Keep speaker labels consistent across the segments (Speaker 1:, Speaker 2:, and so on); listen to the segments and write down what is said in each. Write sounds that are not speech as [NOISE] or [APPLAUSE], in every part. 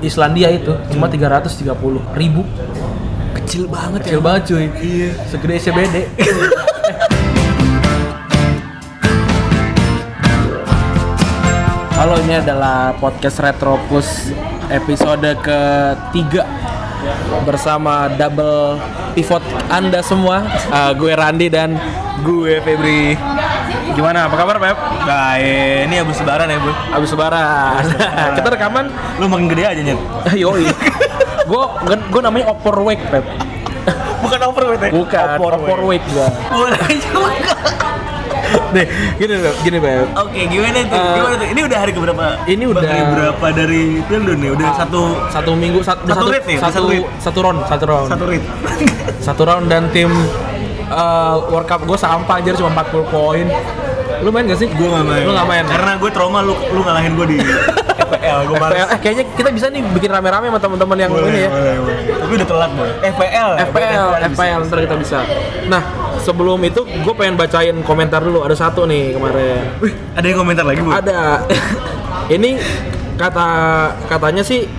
Speaker 1: Islandia itu cuma 330 ribu
Speaker 2: Kecil banget
Speaker 1: kecil banget cuy
Speaker 2: Iya.
Speaker 1: segede SCBD
Speaker 2: [LAUGHS] Halo, ini adalah podcast Retropus episode ketiga bersama double pivot Anda semua. Eh, gue Randi dan
Speaker 3: Gue Febri. Gimana? Apa kabar, Pep? Baik. Ini abis lebaran ya, Bu.
Speaker 2: Abis Lebaran. Kita rekaman.
Speaker 3: Lu makin gede aja, Nyet.
Speaker 2: [LAUGHS] Yoi. gue gue namanya Oporwake, Pep.
Speaker 3: Bukan overweight ya?
Speaker 2: Bukan Oporwake gua.
Speaker 3: Boleh [LAUGHS] juga.
Speaker 2: [LAUGHS] Deh, gini Pep, gini Pep.
Speaker 3: Oke, gimana tuh?
Speaker 2: Eh,
Speaker 3: gimana tuh? Ini udah hari keberapa?
Speaker 2: ini udah-
Speaker 3: Hari berapa dari Pildun nih? Udah satu
Speaker 1: satu minggu sat-
Speaker 3: Satu
Speaker 1: satu
Speaker 3: rate ya?
Speaker 1: satu
Speaker 3: Satu rate.
Speaker 1: satu round satu round
Speaker 3: satu [LAUGHS] rit.
Speaker 1: satu round dan tim eh, World Cup gue sampah anjir cuma 40 poin lu main gak sih?
Speaker 3: Gue gak main.
Speaker 1: lu gak main?
Speaker 3: Karena gue trauma lu lu ngalahin [LAUGHS] gue di FPL. Gue
Speaker 2: FPL,
Speaker 3: males.
Speaker 2: eh kayaknya kita bisa nih bikin rame-rame sama teman-teman yang ini ya.
Speaker 3: boleh, boleh. Tapi udah telat, Boy. FPL.
Speaker 2: FPL, FPL ntar kita bisa. Nah, sebelum itu gue pengen bacain komentar dulu. Ada satu nih kemarin.
Speaker 3: Wih, ada yang komentar lagi, Bu?
Speaker 2: Ada. [LAUGHS] ini kata katanya sih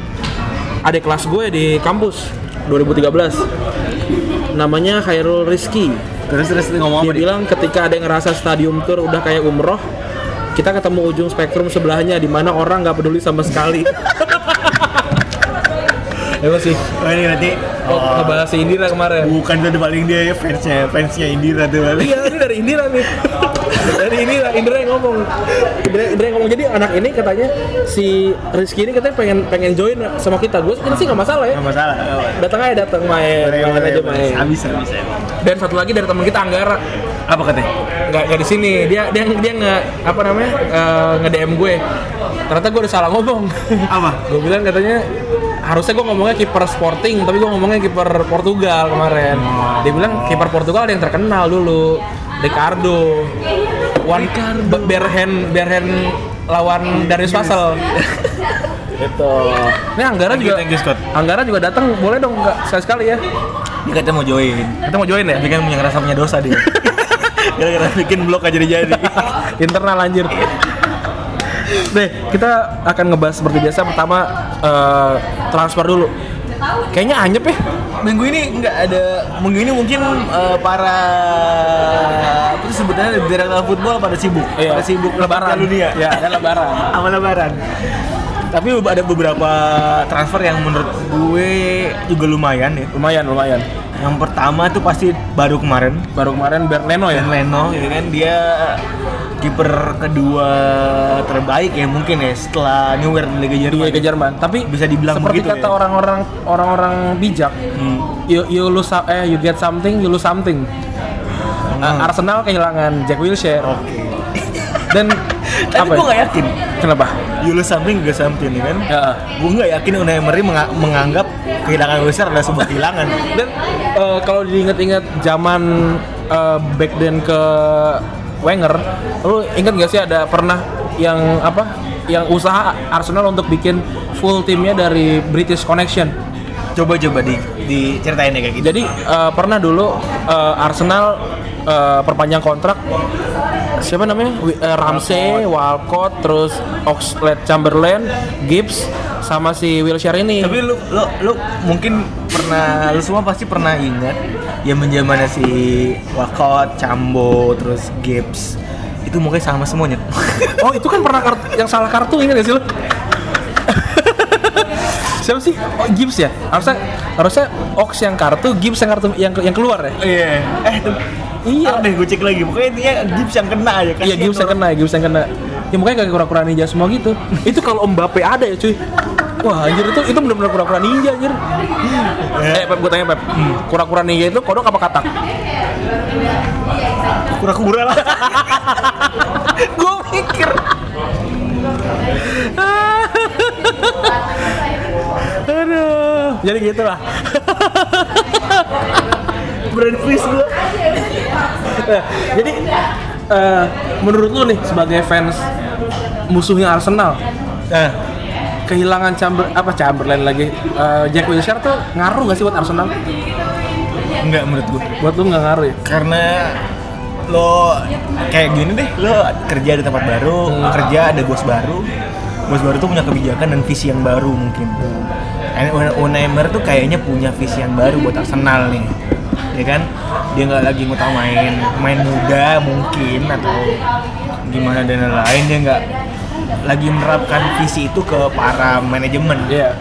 Speaker 2: ada kelas gue di kampus 2013. Namanya Khairul Rizky.
Speaker 3: Terus terus ngomong
Speaker 2: Dia bilang ketika ada yang ngerasa stadium tour udah kayak umroh, kita ketemu ujung spektrum sebelahnya di mana orang nggak peduli sama [LAUGHS] sekali. Emang sih,
Speaker 3: Oh, ini berarti
Speaker 2: oh, ngebahas si Indira kemarin.
Speaker 3: bukan itu paling dia ya, fansnya fansnya Indira tuh paling.
Speaker 2: Iya, ini dari Indira nih. Dari Indira, Indira yang ngomong. Indira, Indira yang ngomong. Jadi anak ini katanya si Rizky ini katanya pengen pengen join sama kita. Gue sih nggak masalah ya.
Speaker 3: Nggak masalah.
Speaker 2: Datang aja datang main,
Speaker 3: Boleh,
Speaker 2: main
Speaker 3: boleh,
Speaker 2: aja
Speaker 3: boleh.
Speaker 2: main.
Speaker 3: Habis, habis, habis.
Speaker 2: Dan satu lagi dari teman kita Anggara.
Speaker 3: Apa katanya?
Speaker 2: Nggak nggak di sini. Dia dia dia nge apa namanya nge DM gue. Ternyata gue udah salah ngomong. [LAUGHS]
Speaker 3: Apa?
Speaker 2: gue bilang katanya harusnya gue ngomongnya kiper Sporting tapi gue ngomongnya kiper Portugal kemarin
Speaker 3: Hmm.
Speaker 2: dia bilang kiper Portugal ada yang terkenal dulu Ricardo One Ricardo Berhen Berhen lawan Darius
Speaker 3: [LAUGHS]
Speaker 2: Vassal itu ini Anggara
Speaker 3: Thank you,
Speaker 2: juga
Speaker 3: thank you, Scott.
Speaker 2: Anggara juga datang boleh dong nggak sekali sekali ya
Speaker 3: Dia katanya mau join.
Speaker 2: kita mau join ya
Speaker 3: Tapi kan punya ngerasa punya dosa dia. [LAUGHS] Gara-gara bikin blog aja jadi.
Speaker 2: internal
Speaker 3: [LAUGHS]
Speaker 2: anjir deh kita akan ngebahas seperti biasa pertama eh, transfer dulu kayaknya anjep ya
Speaker 3: minggu ini nggak ada minggu ini mungkin eh, para apa sih sebutannya direktur football pada sibuk
Speaker 2: Iya.
Speaker 3: pada sibuk
Speaker 2: Lebaran.
Speaker 3: dunia
Speaker 2: Iya, ada lebaran.
Speaker 3: sama lebaran tapi ada beberapa transfer yang menurut gue juga lumayan ya
Speaker 2: lumayan lumayan
Speaker 3: yang pertama tuh pasti baru kemarin
Speaker 2: baru kemarin Berneno ya
Speaker 3: Dan Leno ya kan dia kiper kedua terbaik ya mungkin ya setelah Neuer di Liga Iya, Jerman.
Speaker 2: dua ke Jerman. Tapi
Speaker 3: Bisa dibilang
Speaker 2: seperti
Speaker 3: begitu
Speaker 2: kata
Speaker 3: ya?
Speaker 2: orang-orang orang-orang bijak,
Speaker 3: Hmm.
Speaker 2: you, you lose some- eh you get something, you lose something. Uh,
Speaker 3: Hmm.
Speaker 2: Arsenal kehilangan Jack Wilshere
Speaker 3: Oke.
Speaker 2: dan
Speaker 3: Oh. Tapi
Speaker 2: ya?
Speaker 3: gue nggak yakin.
Speaker 2: Kenapa?
Speaker 3: You lose something, you get something ya kan.
Speaker 2: Ya.
Speaker 3: Gue nggak yakin Unai Emery menga- menganggap kehilangan Wilshere adalah sebuah kehilangan.
Speaker 2: Dan eh, kalau diinget-inget zaman eh, back then ke Wenger, lu inget gak sih ada pernah yang apa? Yang usaha Arsenal untuk bikin full timnya dari British Connection.
Speaker 3: Coba-coba di diceritain ya kayak gitu.
Speaker 2: Jadi eh, pernah dulu eh, Arsenal eh, perpanjang kontrak siapa namanya Wi- eh, Ramsey, Walcott, terus Oxlade Chamberlain, Gibbs sama si Wilshere ini.
Speaker 3: Tapi lu, lu, lu mungkin pernah, lu semua pasti pernah ingat ya menjamannya si Wakot, Cambo, terus Gibbs itu mungkin sama semuanya. [LAUGHS]
Speaker 2: Oh itu kan pernah kart- yang salah kartu ingat gak sih lu? [LAUGHS] siapa sih? Oh Gibbs ya. Harusnya harusnya Ox yang kartu, Gibbs yang kartu yang yang keluar ya.
Speaker 3: Iya. Eh, tuh.
Speaker 2: Iya.
Speaker 3: Iya. deh gue cek lagi. Pokoknya intinya Gibbs yang kena aja kan.
Speaker 2: Iya Gibbs yang kena, Gibbs yang kena. Ya makanya gak kura-kura ninja semua gitu. itu kalau Mbappe ada ya cuy. Wah anjir itu itu benar-benar kura-kura ninja anjir. Eh Pep gue tanya Pep, kura-kura ninja itu kodok apa katak?
Speaker 3: Kura-kura lah.
Speaker 2: gue mikir. Aduh. Jadi gitulah. [LAUGHS]
Speaker 3: Brand freeze gue.
Speaker 2: Nah, Jadi eh, menurut lu nih sebagai fans musuhnya Arsenal
Speaker 3: Nah,
Speaker 2: kehilangan Chamber apa Chamberlain lagi eh, Jack Wilshere tuh ngaruh gak sih buat Arsenal?
Speaker 3: enggak menurut gue.
Speaker 2: Buat lu nggak ngaruh ya?
Speaker 3: karena
Speaker 2: Hmm.
Speaker 3: lo kayak gini deh lo kerja di tempat baru kerja ada bos baru Bos baru tuh punya kebijakan dan visi yang baru mungkin. And Una- Unai Emery tuh kayaknya punya visi yang baru buat Arsenal nih. Ya kan? Dia nggak lagi ngutamain main muda mungkin atau gimana dan lain-lain dia nggak lagi menerapkan visi itu ke para manajemen.
Speaker 2: Iya.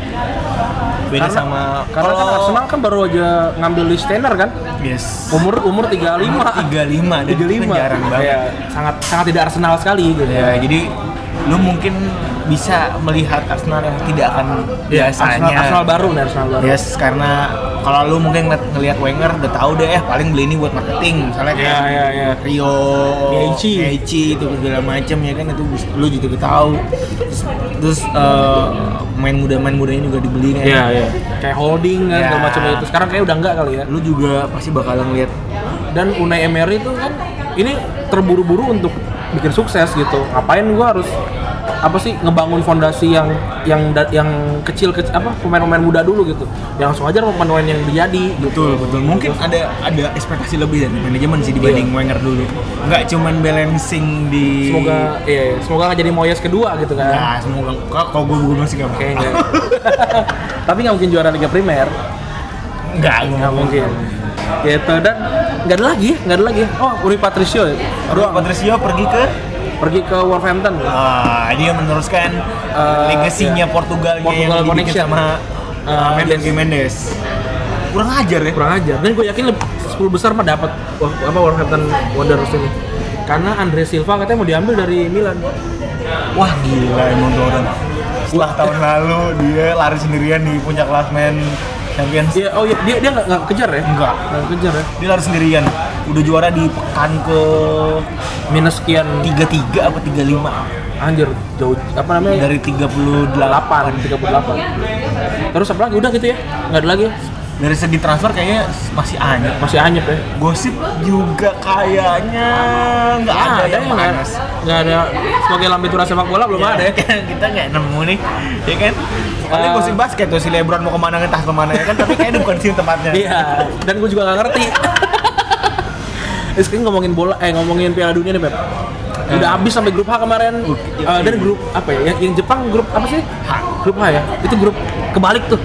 Speaker 3: Beda
Speaker 2: Karena-
Speaker 3: sama Oh,
Speaker 2: Karena kan Arsenal kan baru aja ngambil Luis Tanner kan?
Speaker 3: yes.
Speaker 2: Umur umur 35.
Speaker 3: Umur 35 dan
Speaker 2: 35.
Speaker 3: itu jarang banget.
Speaker 2: Iya, sangat sangat tidak Arsenal sekali gitu.
Speaker 3: Ya, jadi lu mungkin bisa melihat Arsenal yang tidak akan
Speaker 2: Iya,
Speaker 3: biasanya. Iya.
Speaker 2: Arsenal, Arsenal baru nih Arsenal baru.
Speaker 3: Yes, karena kalau lu mungkin ngeliat, ngeliat Wenger udah tahu deh eh paling beli ini buat marketing, misalnya
Speaker 2: Iya,
Speaker 3: kayak
Speaker 2: iya, iya.
Speaker 3: Rio,
Speaker 2: Miyachi.
Speaker 3: Miyachi, itu segala macam ya kan itu bis- lu juga udah tahu. Terus, terus eh, main muda-main mudanya juga dibeli kan.
Speaker 2: Iya, iya. Kayak holding kan
Speaker 3: Iya.
Speaker 2: segala macam itu. Sekarang kayak udah enggak kali ya.
Speaker 3: Lu juga pasti bakal ngeliat
Speaker 2: Dan Unai Emery itu kan ini terburu-buru untuk bikin sukses gitu. Ngapain gua harus apa sih ngebangun fondasi yang yang da- yang kecil kecil apa pemain-pemain muda dulu gitu. Yang langsung aja pemain yang jadi gitu.
Speaker 3: Betul, betul. Mungkin ada ada ekspektasi lebih dari manajemen sih dibanding Wenger dulu. Nggak cuman balancing di
Speaker 2: Semoga iya, semoga nggak jadi Moyes kedua gitu kan.
Speaker 3: Nah, semoga Kok- kalau gue gue masih nggak
Speaker 2: Kayaknya. [LAUGHS] Tapi nggak mungkin juara Liga Primer.
Speaker 3: Nggak, nggak mungkin.
Speaker 2: Gitu dan nggak ada lagi, nggak ada lagi. Oh, Uri Patricio ya?
Speaker 3: Bro, Patricio pergi ke
Speaker 2: pergi ke Wolverhampton. ya?
Speaker 3: ah, dia meneruskan
Speaker 2: Eh,
Speaker 3: legasinya Ah, iya. Portugal
Speaker 2: Portugal
Speaker 3: yang dibikin
Speaker 2: connection.
Speaker 3: sama
Speaker 2: Eh,
Speaker 3: uh, Mendes
Speaker 2: yes.
Speaker 3: Gimenez. Kurang ajar ya.
Speaker 2: Kurang ajar. Dan gue yakin leb- 10 besar mah dapat Wol- apa Wolverhampton Wanderers ini. Karena Andre Silva katanya mau diambil dari Milan.
Speaker 3: Wah, gila emang tuh orang. Setelah tahun lalu dia lari sendirian di puncak klasmen Champions.
Speaker 2: Iya, oh iya, dia dia nggak nggak kejar ya?
Speaker 3: Enggak.
Speaker 2: Nggak kejar ya.
Speaker 3: Dia lari sendirian. Udah juara di pekan ke
Speaker 2: Minus sekian
Speaker 3: 33 apa 35
Speaker 2: anjir jauh apa namanya?
Speaker 3: dari 38
Speaker 2: 8 38. Terus apa lagi udah gitu ya? Nggak ada lagi. ya?
Speaker 3: dari segi transfer kayaknya masih aneh
Speaker 2: Masih anyep ya.
Speaker 3: gosip juga kayaknya nggak
Speaker 2: Ah,
Speaker 3: Ya, ada, yang
Speaker 2: nggak-
Speaker 3: panas Iya.
Speaker 2: nggak ada sebagai lampitura sepak bola belum ada ya
Speaker 3: [LAUGHS] kita nggak nemu nih ya kan paling
Speaker 2: Ah.
Speaker 3: gosip basket tuh si Lebron mau kemana entah kemana ya kan tapi kayaknya bukan di sini tempatnya
Speaker 2: iya dan gue juga nggak [LAUGHS] ngerti Eh, sekarang ngomongin bola, eh ngomongin Piala Dunia nih, Pep. Udah habis sampai grup H kemarin.
Speaker 3: Uh, iya.
Speaker 2: Eh, dan grup apa ya? Yang, yang Jepang grup apa sih? Grup H ya. Itu grup kebalik tuh.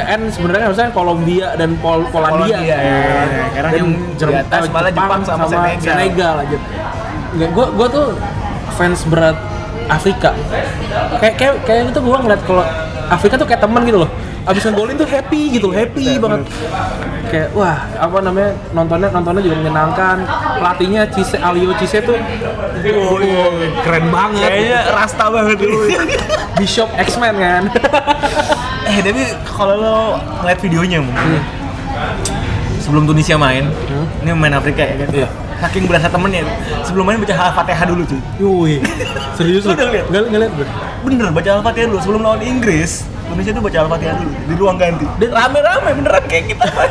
Speaker 2: Eh, N sebenarnya harusnya Kolombia dan Pol Polandia.
Speaker 3: Polandia, ya, ya, ya. Karena yang di atas
Speaker 2: eh,
Speaker 3: malah Jepang sama Senegal.
Speaker 2: aja. gitu. Nggak, gua gua tuh fans berat Afrika. Kayak kayak kayak itu gua ngeliat kalau Afrika tuh kayak teman gitu loh. Abis ngegolin tuh happy gitu, happy
Speaker 3: Iya,
Speaker 2: banget. Kayak wah, apa namanya? Nontonnya nontonnya juga menyenangkan. Pelatihnya Cise Alio Cise tuh
Speaker 3: Iya,
Speaker 1: keren banget
Speaker 3: kayaknya rasta banget dulu
Speaker 2: Bishop X-Men kan.
Speaker 3: [LAUGHS]
Speaker 2: [LAUGHS]
Speaker 3: eh tapi kalau lo ngeliat videonya mungkin sebelum Tunisia main ini main Afrika ya kan
Speaker 2: Iya.
Speaker 3: saking berasa temennya sebelum main baca Al-Fatihah dulu cuy
Speaker 2: Yoi. Serius lu?
Speaker 3: Lu udah liat?
Speaker 2: Nggak nggak liat gue.
Speaker 3: bener baca Al-Fatihah dulu sebelum lawan Inggris Indonesia tuh baca Al-Fatihah dulu di ruang ganti
Speaker 2: Dan
Speaker 3: rame-rame beneran [LAUGHS] kayak gitu, kita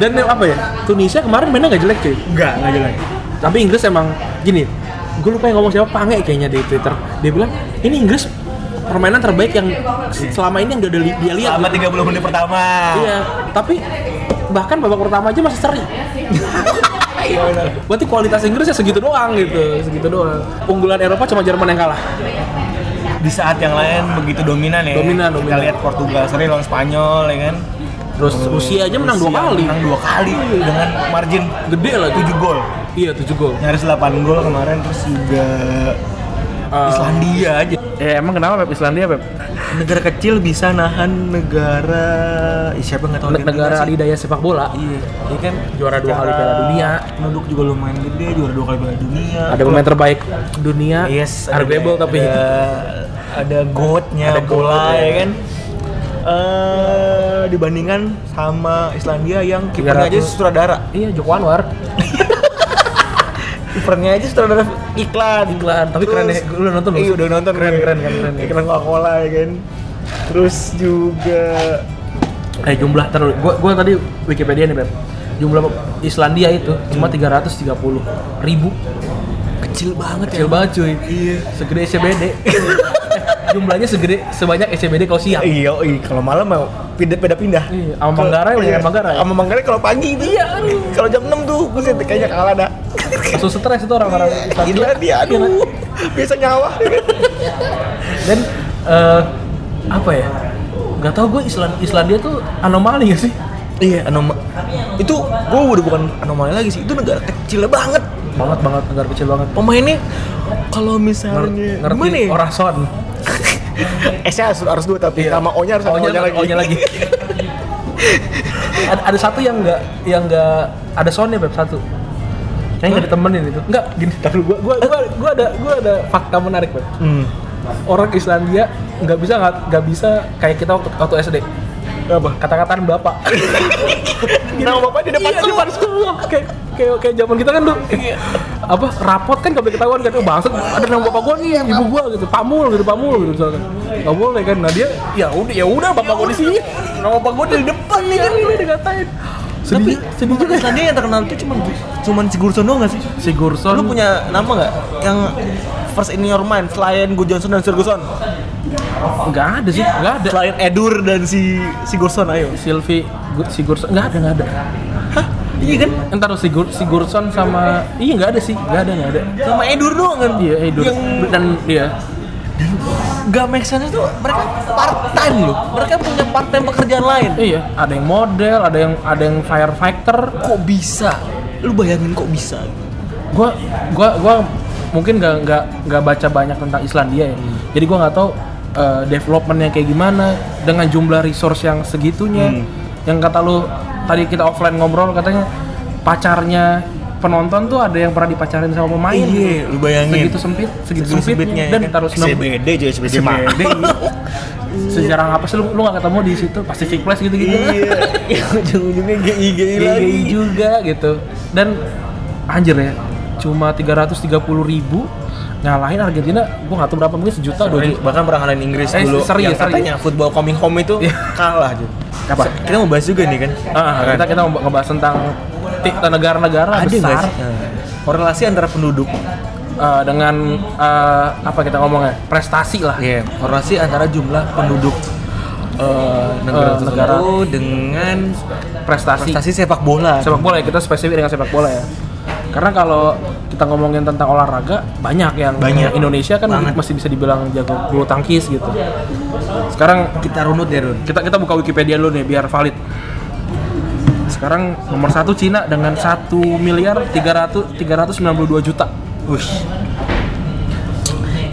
Speaker 2: dan yang apa ya? Tunisia kemarin mainnya nggak jelek cuy.
Speaker 3: enggak enggak jelek
Speaker 2: tapi Inggris emang gini gue lupa yang ngomong siapa pange kayaknya di Twitter dia bilang ini Inggris permainan terbaik yang selama ini yang udah li- dia lihat
Speaker 3: selama 30 menit pertama
Speaker 2: iya tapi bahkan babak pertama aja masih seri
Speaker 3: iya bener
Speaker 2: berarti kualitas Inggrisnya segitu doang gitu segitu doang unggulan Eropa cuma Jerman yang kalah
Speaker 3: di saat yang lain begitu dominan ya
Speaker 2: Dominan,
Speaker 3: kita
Speaker 2: dominan.
Speaker 3: lihat Portugal seri lawan Spanyol ya kan
Speaker 2: terus Rusia aja menang dua
Speaker 3: Rusia
Speaker 2: kali
Speaker 3: menang dua kali dengan margin
Speaker 2: gede lah tujuh
Speaker 3: 7 gol
Speaker 2: iya tujuh gol
Speaker 3: nyaris 8 gol kemarin terus juga
Speaker 2: Eh,
Speaker 3: Ah. Islandia aja
Speaker 2: ya emang kenapa Pep Islandia Pep
Speaker 3: negara kecil bisa nahan negara Ih, siapa nggak tahu
Speaker 2: Ne- negara
Speaker 3: sih.
Speaker 2: adidaya sepak bola
Speaker 3: Iya, iya kan
Speaker 2: Juara dua kali
Speaker 3: secara
Speaker 2: Piala Dunia.
Speaker 3: Penduduk juga lumayan gede, juara dua kali Piala Dunia.
Speaker 2: ada pemain terbaik dunia
Speaker 3: Yes, ada- Iya.
Speaker 2: arguable tapi
Speaker 3: ada, ada goatnya
Speaker 2: Ada goat,
Speaker 3: bola
Speaker 2: ya.
Speaker 3: ya kan. Eh dibandingkan sama Islandia yang kipernya aja
Speaker 2: 300.
Speaker 3: sutradara.
Speaker 2: iya Joko Anwar
Speaker 3: Kipernya aja sutradara iklan.
Speaker 2: Iklan, tapi keren
Speaker 3: Terus-
Speaker 2: ya. Lu udah nonton belum?
Speaker 3: Iya, udah nonton.
Speaker 2: Keren,
Speaker 3: gue.
Speaker 2: keren, keren, keren.
Speaker 3: Iklan Coca-Cola ya kan. Terus juga
Speaker 2: Eh jumlah terus gua gua tadi Wikipedia nih, Beb. Jumlah Islandia itu cuma 330 ribu.
Speaker 3: kecil banget ya.
Speaker 2: Kecil banget cuy.
Speaker 3: Iya.
Speaker 2: Segede SCBD. Eh, [LAUGHS] jumlahnya segede sebanyak SCBD kau siap.
Speaker 3: Iya, iya. Kalau malam mau pindah pindah pindah.
Speaker 2: Iya, sama Manggarai,
Speaker 3: Kalau-
Speaker 2: mendingan Manggarai.
Speaker 3: Sama Manggarai kalau pagi itu. Iya. Kalau jam 6 tuh, gue sih kayaknya kalah dah.
Speaker 2: Langsung stres itu orang-orang.
Speaker 3: Iya, Gila
Speaker 2: Iya,
Speaker 3: dia,
Speaker 2: kan?
Speaker 3: aduh. Biasa nyawa.
Speaker 2: Dan eh, apa ya? Gak tau gue Island Islandia tuh anomali gak sih?
Speaker 3: Iya, anomali. Itu gue udah bukan anomali lagi sih. Itu negara kecil banget.
Speaker 2: Banget banget negara kecil banget.
Speaker 3: Pemainnya kalau misalnya
Speaker 2: Nger-
Speaker 3: gimana
Speaker 2: ngerti
Speaker 3: ya?
Speaker 2: orang son.
Speaker 3: S-nya harus, harus dua tapi sama O-nya harus ada
Speaker 2: Ohnya-
Speaker 3: Iya. O-nya lagi.
Speaker 2: ohnya lagi. ada, ada satu yang nggak yang nggak ada soundnya beb satu kayaknya nggak ditemenin itu nggak gini taruh gua gua gua, gua ada gua ada fakta menarik beb
Speaker 3: Hmm.
Speaker 2: orang Islandia nggak bisa nggak nggak bisa kayak kita waktu, waktu SD
Speaker 3: Apa?
Speaker 2: kata-kataan
Speaker 3: [LAUGHS]
Speaker 2: bapak
Speaker 3: Nama bapak di depan
Speaker 2: iya,
Speaker 3: semua. Iya.
Speaker 2: depan semua kayak kayak kayak zaman kita kan dulu apa rapot kan gak boleh ketahuan kan oh, bangsat ada nama bapak gua nih ibu gua gitu pamul gitu pamul gitu misalkan nggak boleh kan nah dia ya udah ya udah bapak gua di sini nama bapak gua di depan nih kan ini dikatain sedih sedih juga
Speaker 3: Islandia yang terkenal itu cuman cuman si Gursono nggak sih?
Speaker 2: si Gurson
Speaker 3: Lu punya nama nggak yang first in your mind selain Gu Johnson dan Ferguson?
Speaker 2: nggak ada sih nggak ada
Speaker 3: Iya. Selain Edur dan si si Gurson ayo.
Speaker 2: Silvi Gu- si Gurson nggak ada nggak ada
Speaker 3: Hah? Iya kan?
Speaker 2: entar si Gur si Gurson sama iya nggak ada sih nggak ada nggak ada
Speaker 3: Sama Edur doang kan?
Speaker 2: iya eh, Dur-
Speaker 3: Yang
Speaker 2: dan iya. dia
Speaker 3: gak make sense itu mereka part time loh. Mereka punya part time pekerjaan lain.
Speaker 2: iya ada yang model ada yang ada yang firefighter
Speaker 3: Kok bisa? Lu bayangin kok bisa?
Speaker 2: gua gua gua mungkin nggak nggak nggak baca banyak tentang Islandia ya
Speaker 3: Hmm.
Speaker 2: jadi gua nggak tahu uh, developmentnya kayak gimana dengan jumlah resource yang segitunya
Speaker 3: Hmm.
Speaker 2: yang kata lu tadi kita offline ngobrol katanya pacarnya penonton tuh ada yang pernah dipacarin sama pemain
Speaker 3: Iya, lu bayangin.
Speaker 2: segitu sempit segitu,
Speaker 3: Segitu
Speaker 2: sempitnya,
Speaker 3: sempitnya, ya
Speaker 2: dan
Speaker 3: kan?
Speaker 2: taruh enam
Speaker 3: SBD jadi SBD mah.
Speaker 2: SBD, iya. [LAUGHS] sejarah apa sih lu lu nggak ketemu di situ Pacific Place gitu gitu
Speaker 3: Iya, yang [LAUGHS] ujung-ujungnya GI GI lagi.
Speaker 2: GGI Iya juga gitu dan anjir ya cuma 330 ribu ngalahin Argentina gua nggak tahu berapa mungkin sejuta dua
Speaker 3: Bahkan-
Speaker 2: juta
Speaker 3: bahkan pernah ngalahin Inggris
Speaker 2: Eh,
Speaker 3: dulu
Speaker 2: seri,
Speaker 3: yang
Speaker 2: seri.
Speaker 3: katanya football coming home itu
Speaker 2: Iya.
Speaker 3: kalah Jun.
Speaker 2: Apa?
Speaker 3: Se- Kita mau bahas juga nih kan.
Speaker 2: Ah,
Speaker 3: Kan?
Speaker 2: kita kita mau ngebahas tentang ti- negara-negara
Speaker 3: ada nggak
Speaker 2: besar
Speaker 3: sih eh, korelasi antara penduduk?
Speaker 2: eh, dengan eh, apa kita ngomongnya prestasi lah Eh,
Speaker 3: Iya, korelasi antara jumlah penduduk eh, negara
Speaker 2: Eh, negara.
Speaker 3: tertentu dengan
Speaker 2: prestasi,
Speaker 3: prestasi sepak bola.
Speaker 2: sepak bola ya kita spesifik dengan sepak bola ya karena kalau kita ngomongin tentang olahraga banyak yang
Speaker 3: Banyak.
Speaker 2: Indonesia kan
Speaker 3: Banget.
Speaker 2: masih bisa dibilang jago bulu tangkis gitu sekarang
Speaker 3: Kita runut ya Run.
Speaker 2: kita kita buka Wikipedia dulu nih biar valid. Sekarang nomor satu Cina dengan 1 miliar 300 392 juta.
Speaker 3: Wih.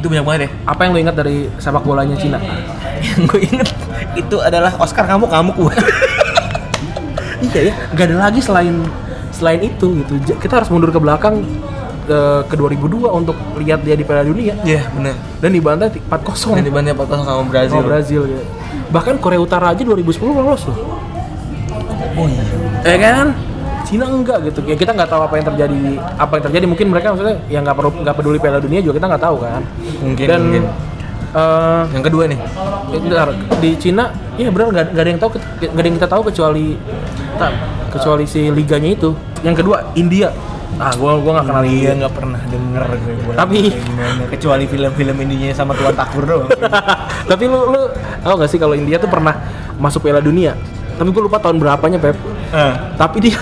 Speaker 3: Itu banyak banget ya. [LAUGHS]
Speaker 2: Apa yang lo ingat dari sepak bolanya Cina?
Speaker 3: Yang gue inget itu adalah Oscar kamu kamu [LAUGHS] gue.
Speaker 2: Iya ya, nggak ada lagi selain selain itu gitu. J- Kita harus mundur ke belakang eh, ke 2002 untuk lihat dia di Piala Dunia
Speaker 3: Iya benar.
Speaker 2: dan dibantai
Speaker 3: Dan
Speaker 2: 4-0
Speaker 3: dibanding 4 sama Brazil.
Speaker 2: sama Brazil gitu. Bahkan Korea Utara aja 2010 lolos loh.
Speaker 3: Oh iya.
Speaker 2: ya kan Cina enggak gitu ya kita nggak tahu apa yang terjadi apa yang terjadi mungkin mereka maksudnya yang nggak perlu nggak peduli Piala Dunia juga kita nggak tahu kan
Speaker 3: Mungkin,
Speaker 2: dan
Speaker 3: mungkin.
Speaker 2: eh,
Speaker 3: Yang kedua nih.
Speaker 2: bentar, di Cina iya benar nggak nggak ada yang tahu nggak ada yang kita tahu kecuali kecuali si liganya itu yang kedua India ah gua gua nggak kenal India [LAUGHS]
Speaker 3: Iya nggak pernah denger gue bola
Speaker 2: Tapi-
Speaker 3: kayak gimana. kecuali film-film Indonesia sama Tuan Takur
Speaker 2: [LAUGHS]
Speaker 3: doang.
Speaker 2: tapi lu lu tahu nggak sih kalau India tuh pernah masuk Piala Dunia tapi gua lupa tahun berapanya Pep
Speaker 3: Eh,
Speaker 2: tapi dia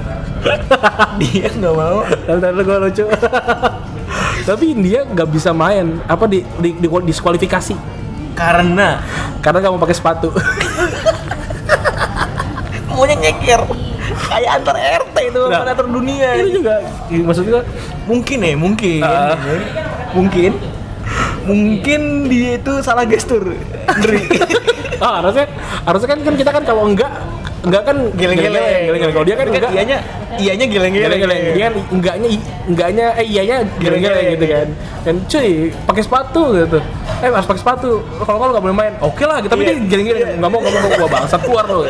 Speaker 2: [LAUGHS]
Speaker 3: dia nggak mau.
Speaker 2: Tapi tadi gue lucu. [LAUGHS] Tapi India nggak bisa main apa di, di, di diskualifikasi
Speaker 3: Karena
Speaker 2: karena nggak mau pakai sepatu. [LAUGHS]
Speaker 3: maunya nyeker. Kayak antar RT itu
Speaker 2: Nah.
Speaker 3: bukan antar dunia.
Speaker 2: Itu juga i- maksud gua
Speaker 3: Mungkin ya, mungkin.
Speaker 2: Ah.
Speaker 3: Mungkin. Mungkin dia itu salah gestur.
Speaker 2: [LAUGHS]
Speaker 3: Ngeri.
Speaker 2: ah, harusnya harusnya kan kan kita kan kalau enggak enggak kan geleng-geleng. geleng-geleng. Kalau dia kan enggak
Speaker 3: ianya ianya geleng-geleng. Iya.
Speaker 2: geleng-geleng. Dia kan enggaknya i- enggaknya eh iyanya geleng-geleng gitu kan. Dan cuy, pakai sepatu gitu. Eh harus pakai sepatu. Kalau kalau nggak boleh main. Oke lah, tapi
Speaker 3: Iya.
Speaker 2: dia geleng-geleng. Enggak mau enggak mau gua bangsat keluar lu.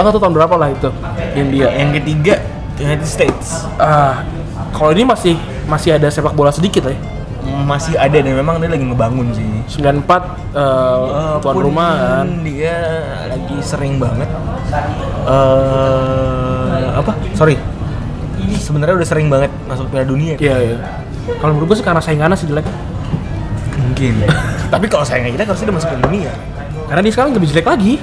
Speaker 2: Tanggal tuh tahun berapa lah itu India?
Speaker 3: Yang ketiga United States
Speaker 2: Ah, kalau ini masih masih ada sepak bola sedikit lah ya.
Speaker 3: masih ada dan memang dia lagi ngebangun sih.
Speaker 2: 94 eh, tuan
Speaker 3: Walaupun
Speaker 2: rumah kan.
Speaker 3: dia lagi sering banget eh apa sorry sebenarnya udah sering banget masuk Piala Dunia
Speaker 2: Iya, iya. Kalau menurut gue sih karena saingannya sih jelek.
Speaker 1: mungkin.
Speaker 3: Tapi kalau sayangnya kita harusnya udah masuk ke dunia.
Speaker 2: Karena dia sekarang lebih jelek [LAUGHS] lagi.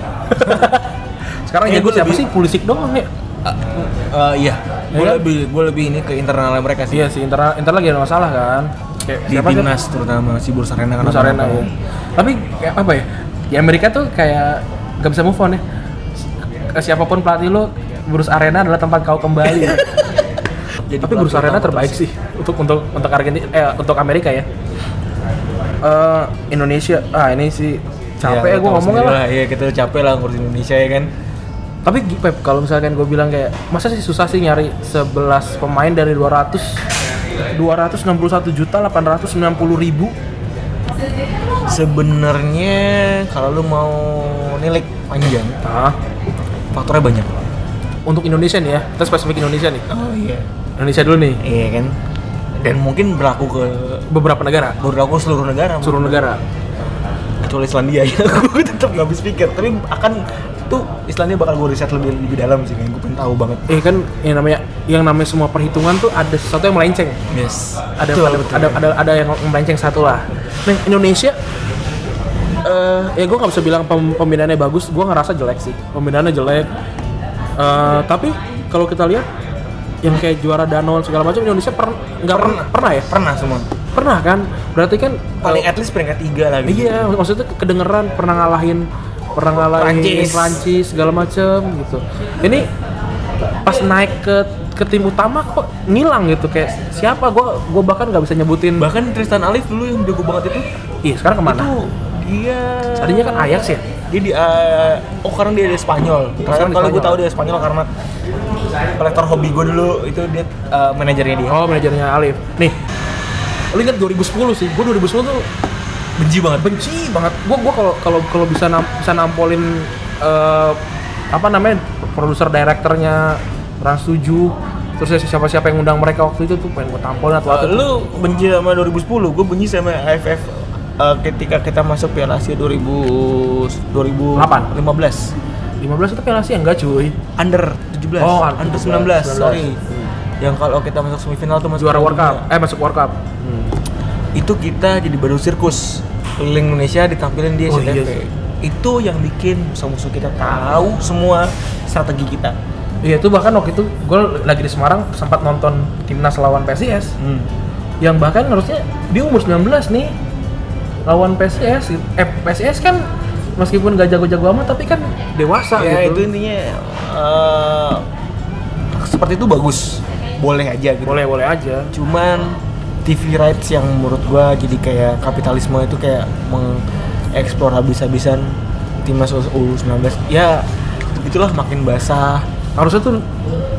Speaker 2: sekarang
Speaker 3: Eh,
Speaker 2: jago
Speaker 3: gua
Speaker 2: siapa
Speaker 3: lebih-
Speaker 2: sih? Pulisic doang ya.
Speaker 3: Eh, iya, gue
Speaker 2: Iya.
Speaker 3: lebih gue lebih ini ke internalnya mereka sih.
Speaker 2: Iya sih, Inter Inter lagi ada masalah kan. Kayak
Speaker 3: Di
Speaker 2: siapa sih?
Speaker 3: timnas terutama si Bursa Arena
Speaker 2: Terus arena ya. Tapi kayak apa ya? Di Amerika tuh kayak gak bisa move on ya. Ke Siapapun pelatih lo, Bruce Arena adalah tempat kau [LAUGHS] kembali. Tapi Bruce Arena terbaik sih untuk untuk untuk Argentina eh, untuk Amerika ya. Eh, Indonesia ah ini sih capek ya, gue ngomongnya lah.
Speaker 3: Iya, kita udah capek lah ngurusin Indonesia ya kan.
Speaker 2: Tapi gi- Pep, kalau misalkan gue bilang kayak masa sih susah sih nyari 11 pemain dari 200 261 juta 890 ribu
Speaker 3: Sebenarnya kalau lu mau nilik panjang,
Speaker 2: nah,
Speaker 3: faktornya banyak.
Speaker 2: untuk Indonesia nih ya kita spesifik Indonesia nih
Speaker 3: Oh iya.
Speaker 2: Indonesia dulu nih
Speaker 3: Iya kan. Dan mungkin berlaku ke
Speaker 2: beberapa negara
Speaker 3: berlaku seluruh negara.
Speaker 2: seluruh negara
Speaker 3: kecuali Islandia [LAUGHS] ya gue tetap nggak habis pikir tapi akan itu Islandia bakal gue riset lebih lebih dalam sih kan gue pengen tahu banget
Speaker 2: eh kan yang namanya yang namanya semua perhitungan tuh ada sesuatu yang melenceng
Speaker 3: yes
Speaker 2: ada ada, ada ada ada yang melenceng satu lah nah Indonesia eh ya gue nggak bisa bilang pem- pembinaannya bagus gue ngerasa jelek sih pembinaannya jelek Eh, tapi kalau kita lihat yang kayak juara danau segala macam Indonesia per- nggak pernah pernah ya
Speaker 3: pernah semua
Speaker 2: pernah kan berarti kan eh,
Speaker 3: paling at least peringkat tiga lah gitu
Speaker 2: Iya, mak- maksudnya kedengeran pernah ngalahin pernah ngalahin
Speaker 3: Prancis.
Speaker 2: Prancis, segala macem gitu. Ini pas naik ke ke tim utama kok ngilang gitu kayak siapa gua gua bahkan nggak bisa nyebutin
Speaker 3: bahkan Tristan Alif dulu yang jago banget itu
Speaker 2: Ih, Iya, sekarang
Speaker 3: itu
Speaker 2: kemana?
Speaker 3: dia
Speaker 2: Tadinya kan Ajax ya?
Speaker 3: dia di eh, oh karena dia dari Spanyol karena
Speaker 2: Sekarang di
Speaker 3: kalau gue
Speaker 2: Spanyol.
Speaker 3: tahu dia dari Spanyol karena kolektor hobi gue dulu itu dia eh, manajernya dia
Speaker 2: Oh, manajernya Alif. Nih. Lu inget 2010 sih. Gua 2010 tuh
Speaker 3: benci banget
Speaker 2: benci banget. Gua gua kalau kalau kalau bisa nam- bisa nampolin eh, apa namanya? produser direkturnya Trans 7 terus ya, siapa-siapa yang undang mereka waktu itu tuh pengen gua tampolin atau apa
Speaker 3: Eh, lu benci sama 2010, gue benci sama AFF eh, ketika kita masuk Piala Asia 2000 2015.
Speaker 2: 15 itu Piala Asia enggak cuy
Speaker 3: Under 17,
Speaker 2: Oh,
Speaker 3: under 19,
Speaker 2: 19,
Speaker 3: sorry. Yang kalau kita masuk semifinal tuh masuk
Speaker 2: juara
Speaker 3: Piala
Speaker 2: World Cup
Speaker 3: Dunia.
Speaker 2: eh masuk World Cup
Speaker 3: Hmm. Itu kita jadi baru sirkus. Keliling Indonesia ditampilin di
Speaker 2: Oh,
Speaker 3: SCTV.
Speaker 2: iya sih.
Speaker 3: Itu yang bikin musuh-musuh kita tahu semua strategi kita.
Speaker 2: iya itu bahkan waktu itu gue lagi di Semarang sempat nonton timnas lawan PSIS yang bahkan harusnya dia umur 19 nih lawan PSIS eh PSIS kan meskipun gak jago-jago amat tapi kan dewasa
Speaker 3: Ya itu
Speaker 2: gitu
Speaker 3: intinya eh, seperti itu bagus. Boleh aja gitu.
Speaker 2: boleh boleh aja
Speaker 3: cuman TV rights yang menurut gua jadi kayak kapitalisme itu kayak mengeksplor habis-habisan timnas U19 ya itulah makin basah
Speaker 2: harusnya tuh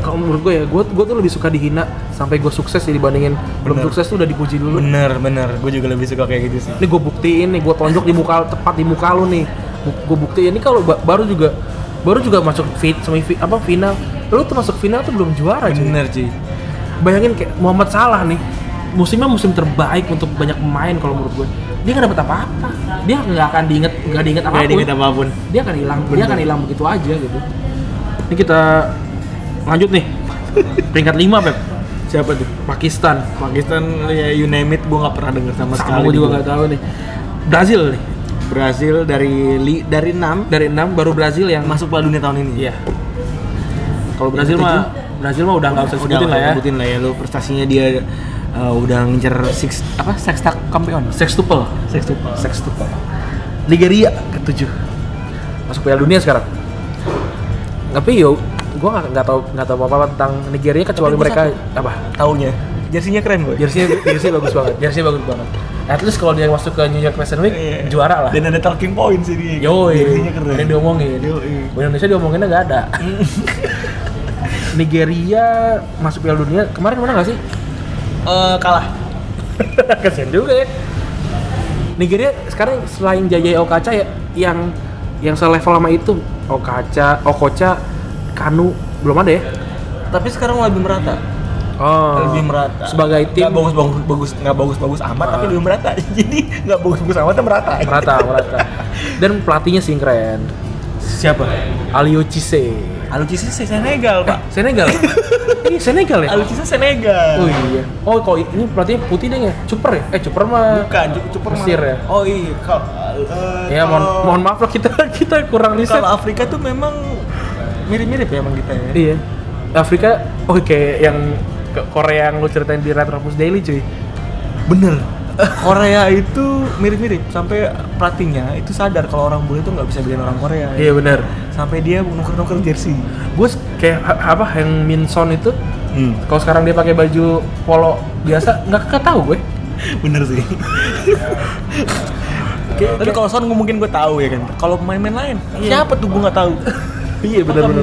Speaker 2: kalau menurut gue ya gue gue tuh lebih suka dihina sampai gue sukses ya dibandingin belum
Speaker 3: Bener.
Speaker 2: sukses tuh udah dipuji dulu
Speaker 3: bener bener gue juga lebih suka kayak gitu sih
Speaker 2: ini gue buktiin nih gue tonjok di muka tepat di muka lu nih gue buktiin ini kalau ba- baru juga baru juga masuk fit semi fi- apa final lu tuh masuk final tuh belum juara cuy
Speaker 3: bener sih
Speaker 2: bayangin kayak Muhammad Salah nih musimnya musim terbaik untuk banyak pemain kalau menurut gue dia nggak dapet apa-apa dia nggak akan diinget nggak diinget apapun
Speaker 3: apapun
Speaker 2: dia akan hilang dia akan hilang begitu aja gitu ini kita lanjut nih peringkat 5 Pep
Speaker 3: siapa tuh
Speaker 2: Pakistan
Speaker 3: Pakistan ya you name it gue nggak pernah dengar sama sekali
Speaker 2: sama gue juga nggak tahu nih Brazil nih
Speaker 3: Brazil dari li, dari 6
Speaker 2: dari 6 baru Brazil yang
Speaker 3: masuk Piala Dunia tahun ini
Speaker 2: Iya. Kalau
Speaker 3: Ya,
Speaker 2: Brazil
Speaker 3: itu
Speaker 2: mah Brazil mah udah nggak usah sebutin lah ya.
Speaker 3: sebutin lah ya lo prestasinya dia eh, udah ngincer six apa sexta kampeon
Speaker 2: Sextuple.
Speaker 3: sextuple
Speaker 2: Sextuple. Nigeria ketujuh. Masuk Piala Dunia sekarang. Tapi yo, gue nggak nggak tahu nggak tahu apa apa tentang Nigeria kecuali
Speaker 3: gua
Speaker 2: mereka apa?
Speaker 3: taunya jersinya keren boy
Speaker 2: Jersey jersey bagus banget. Jersey bagus banget. At least kalau dia masuk ke New York Fashion Week
Speaker 3: Iya.
Speaker 2: juara lah.
Speaker 3: dan ada talking point sih dia
Speaker 2: Yo,
Speaker 3: jersinya keren
Speaker 2: ini diomongin.
Speaker 3: Yoi.
Speaker 2: Indonesia diomonginnya nggak
Speaker 3: [LAUGHS]
Speaker 2: ada. Nigeria masuk Piala Dunia kemarin mana nggak sih?
Speaker 3: Eh, kalah
Speaker 2: kasian juga ya Nigeria sekarang selain Jajai Okaca ya yang yang selevel sama itu Okaca Okocha Kanu belum ada ya
Speaker 3: tapi sekarang lebih merata
Speaker 2: oh
Speaker 3: lebih merata
Speaker 2: sebagai tim
Speaker 3: nggak bagus bagus bagus nggak bagus bagus amat tapi
Speaker 2: Ah.
Speaker 3: lebih merata [LAUGHS] jadi nggak bagus bagus amat tapi merata
Speaker 2: merata merata dan pelatihnya sih keren
Speaker 3: siapa
Speaker 2: Alio Cisse
Speaker 3: Alutsista se- Senegal, Pak. [LAUGHS]
Speaker 2: Senegal. Ini Senegal ya?
Speaker 3: Alutsista Senegal.
Speaker 2: Oh iya. Oh kok ini berarti putih deh ya? Cuper ya? Eh cuper mah.
Speaker 3: Bukan, cukup cukup
Speaker 2: Mesir ya?
Speaker 3: Oh iya, kalau eh,
Speaker 2: Ya mohon,
Speaker 3: kalau-
Speaker 2: mohon maaf lah kita kita kurang riset.
Speaker 3: Kalau Afrika tuh memang mirip-mirip ya emang kita ya.
Speaker 2: Iya. Afrika, oke yang ke- Korea yang lu ceritain di Retropus Daily cuy.
Speaker 3: Bener. [LAUGHS] Korea itu mirip-mirip sampai pelatihnya itu sadar kalau orang bule itu nggak bisa bikin orang Korea. ya.
Speaker 2: Iya benar.
Speaker 3: Sampai dia nuker-nuker jersey.
Speaker 2: Gue kayak ha- apa yang Minson itu
Speaker 3: Hmm,
Speaker 2: kalau sekarang dia pakai baju polo biasa nggak nggak tahu gue.
Speaker 3: bener [LAUGHS] sih. Tapi kalau Son mungkin gue tahu ya kan. Kalau pemain-pemain lain, siapa tuh gue nggak tahu.
Speaker 2: Iya benar-benar.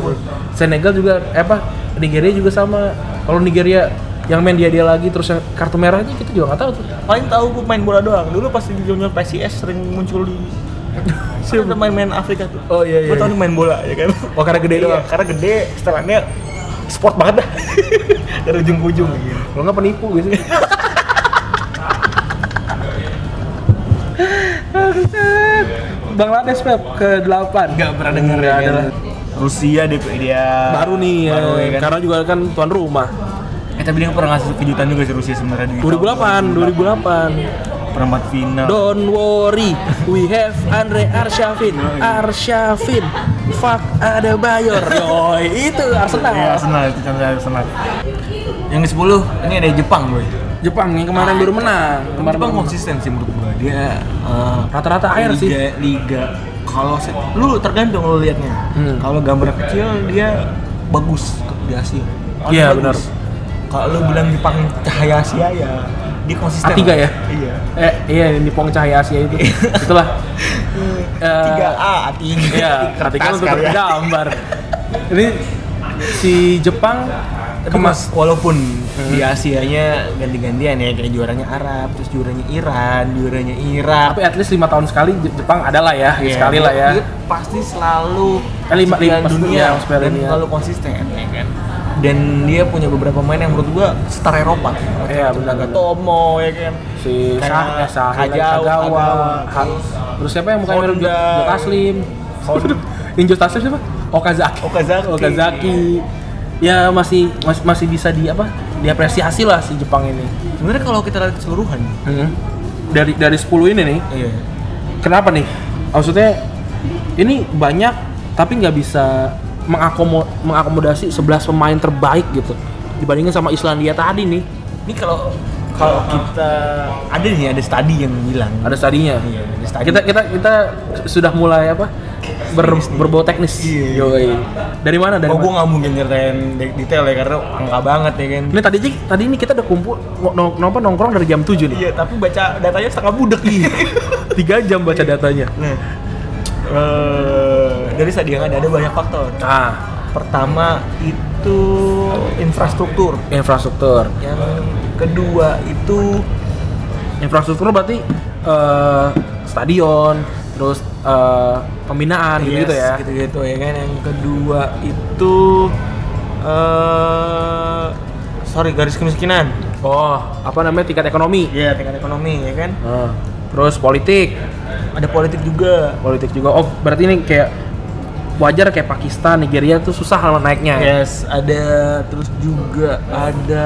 Speaker 2: Senegal juga eh, apa Nigeria juga sama. Kalau Nigeria yang main dia dia lagi terus yang kartu merahnya kita juga nggak tahu tuh.
Speaker 3: Paling tahu gue main bola doang. Dulu pas di junior PSIS sering muncul [LAUGHS] di Siapa main-main Afrika tuh?
Speaker 2: Oh, iya,
Speaker 3: Gue
Speaker 2: iya.
Speaker 3: tahu nih main bola ya kan.
Speaker 2: Oh karena gede
Speaker 3: Iya,
Speaker 2: doang.
Speaker 3: karena gede, setelannya sport banget dah. [LAUGHS] Dari ujung ke ujung gitu.
Speaker 2: Kalau nggak penipu biasanya. [LAUGHS] Bangladesh Pep ke 8
Speaker 3: Nggak pernah denger ya kan. Rusia dia, dia
Speaker 2: Baru nih ya,
Speaker 3: baru ya kan.
Speaker 2: karena juga kan tuan rumah.
Speaker 3: Eh tapi dia pernah ngasih kejutan juga sih Rusia sebenarnya di
Speaker 2: 2008, 2008.
Speaker 3: perempat final.
Speaker 2: Don't worry, we have Andre Arsyafin. Arsyafin, fuck ada Bayor. Yoi, itu
Speaker 3: Ya,
Speaker 2: Arsenal.
Speaker 3: Arsenal, itu contohnya Arsenal. Yang ke-10, ini ada Jepang gue.
Speaker 2: Jepang yang kemarin baru menang. Kemarin
Speaker 3: Jepang
Speaker 2: baru menang.
Speaker 3: konsisten sih menurut gue. Dia eh,
Speaker 2: rata-rata air
Speaker 3: liga,
Speaker 2: sih.
Speaker 3: Liga. Kalau se- lu tergantung lu liatnya.
Speaker 2: Hmm.
Speaker 3: Kalau gambar kecil dia bagus ke- di Asia. Paling
Speaker 2: Iya,
Speaker 3: bagus.
Speaker 2: benar.
Speaker 3: Kalau lu bilang Jepang cahaya Asia ya dia konsisten.
Speaker 2: A3 ya?
Speaker 3: Iya.
Speaker 2: Eh, iya yang di Pong Cahaya Asia [LAUGHS] itu. Itulah. Eh,
Speaker 3: Tiga A, tiga.
Speaker 2: Iya,
Speaker 3: Kertas
Speaker 2: perhatikan untuk
Speaker 3: kali ya.
Speaker 2: gambar. Ini si Jepang
Speaker 3: Tapi
Speaker 2: kemas Hmm.
Speaker 3: mas, walaupun di Asianya ganti-gantian ya kayak juaranya Arab, terus juaranya Iran, juaranya Irak.
Speaker 2: tapi at least lima tahun sekali Je- Jepang ada lah ya,
Speaker 3: Iya,
Speaker 2: sekali lah ya.
Speaker 3: dia pasti selalu
Speaker 2: Eh, lima- lima-
Speaker 3: kejuaraan
Speaker 2: maksudnya,
Speaker 3: dunia
Speaker 2: maksudnya
Speaker 3: dan
Speaker 2: dunia.
Speaker 3: selalu konsisten ya kan dan dia punya beberapa pemain yang menurut gua star Eropa
Speaker 2: Iya, benar, benar.
Speaker 3: Tomo ya kan
Speaker 2: Si
Speaker 3: Kayak
Speaker 2: Sah, eh, Sah,
Speaker 3: Kajau,
Speaker 2: Kagawa,
Speaker 3: Kagawa,
Speaker 2: Ha-
Speaker 3: terus
Speaker 2: terus siapa yang mukanya mirip Jo-
Speaker 3: Honda.
Speaker 2: Jo Taslim? [LAUGHS] Yang Jo Taslim siapa? Okazaki.
Speaker 3: Okazaki. Iya.
Speaker 2: Okazaki. Ya masih mas- masih bisa di apa? Diapresiasi lah si Jepang ini.
Speaker 3: sebenarnya kalau kita lihat keseluruhan
Speaker 2: Dari dari 10 ini nih,
Speaker 3: iya
Speaker 2: kenapa nih? Maksudnya ini banyak tapi nggak bisa mengakomo- mengakomodasi 11 pemain terbaik gitu dibandingin sama Islandia tadi nih
Speaker 3: ini kalau kalau kita ada nih ada studi yang bilang
Speaker 2: Iya. ada stadinya.
Speaker 3: Iya, ada studi.
Speaker 2: Kita kita kita sudah mulai apa ber, berbau teknis.
Speaker 3: Iya.
Speaker 2: Yoi. Dari mana dari?
Speaker 3: oh gua
Speaker 2: mana?
Speaker 3: nggak mungkin nyeritain de- detail ya karena angka banget ya kan
Speaker 2: Ini tadi Cik, tadi ini kita udah kumpul ngo- nong- nong- apa, nongkrong dari jam 7 nih.
Speaker 3: iya tapi baca datanya setengah budek
Speaker 2: Iya. Tiga jam baca datanya.
Speaker 3: nah eh, dari studi yang ada ada banyak faktor
Speaker 2: Nah,
Speaker 3: Pertama itu infrastruktur.
Speaker 2: infrastruktur.
Speaker 3: Yang kedua itu
Speaker 2: Infrastruktur berarti eh, stadion, terus eh, pembinaan gitu-gitu ya.
Speaker 3: Gitu-gitu ya kan. Yang kedua itu eh sorry garis kemiskinan.
Speaker 2: Oh, apa namanya tingkat ekonomi?
Speaker 3: Iya, tingkat ekonomi ya kan.
Speaker 2: Nah, terus politik,
Speaker 3: Ada politik juga.
Speaker 2: politik juga. Oh, berarti ini kayak wajar kayak Pakistan, Nigeria tuh susah lah naiknya. ya?
Speaker 3: Yes, ada terus juga ada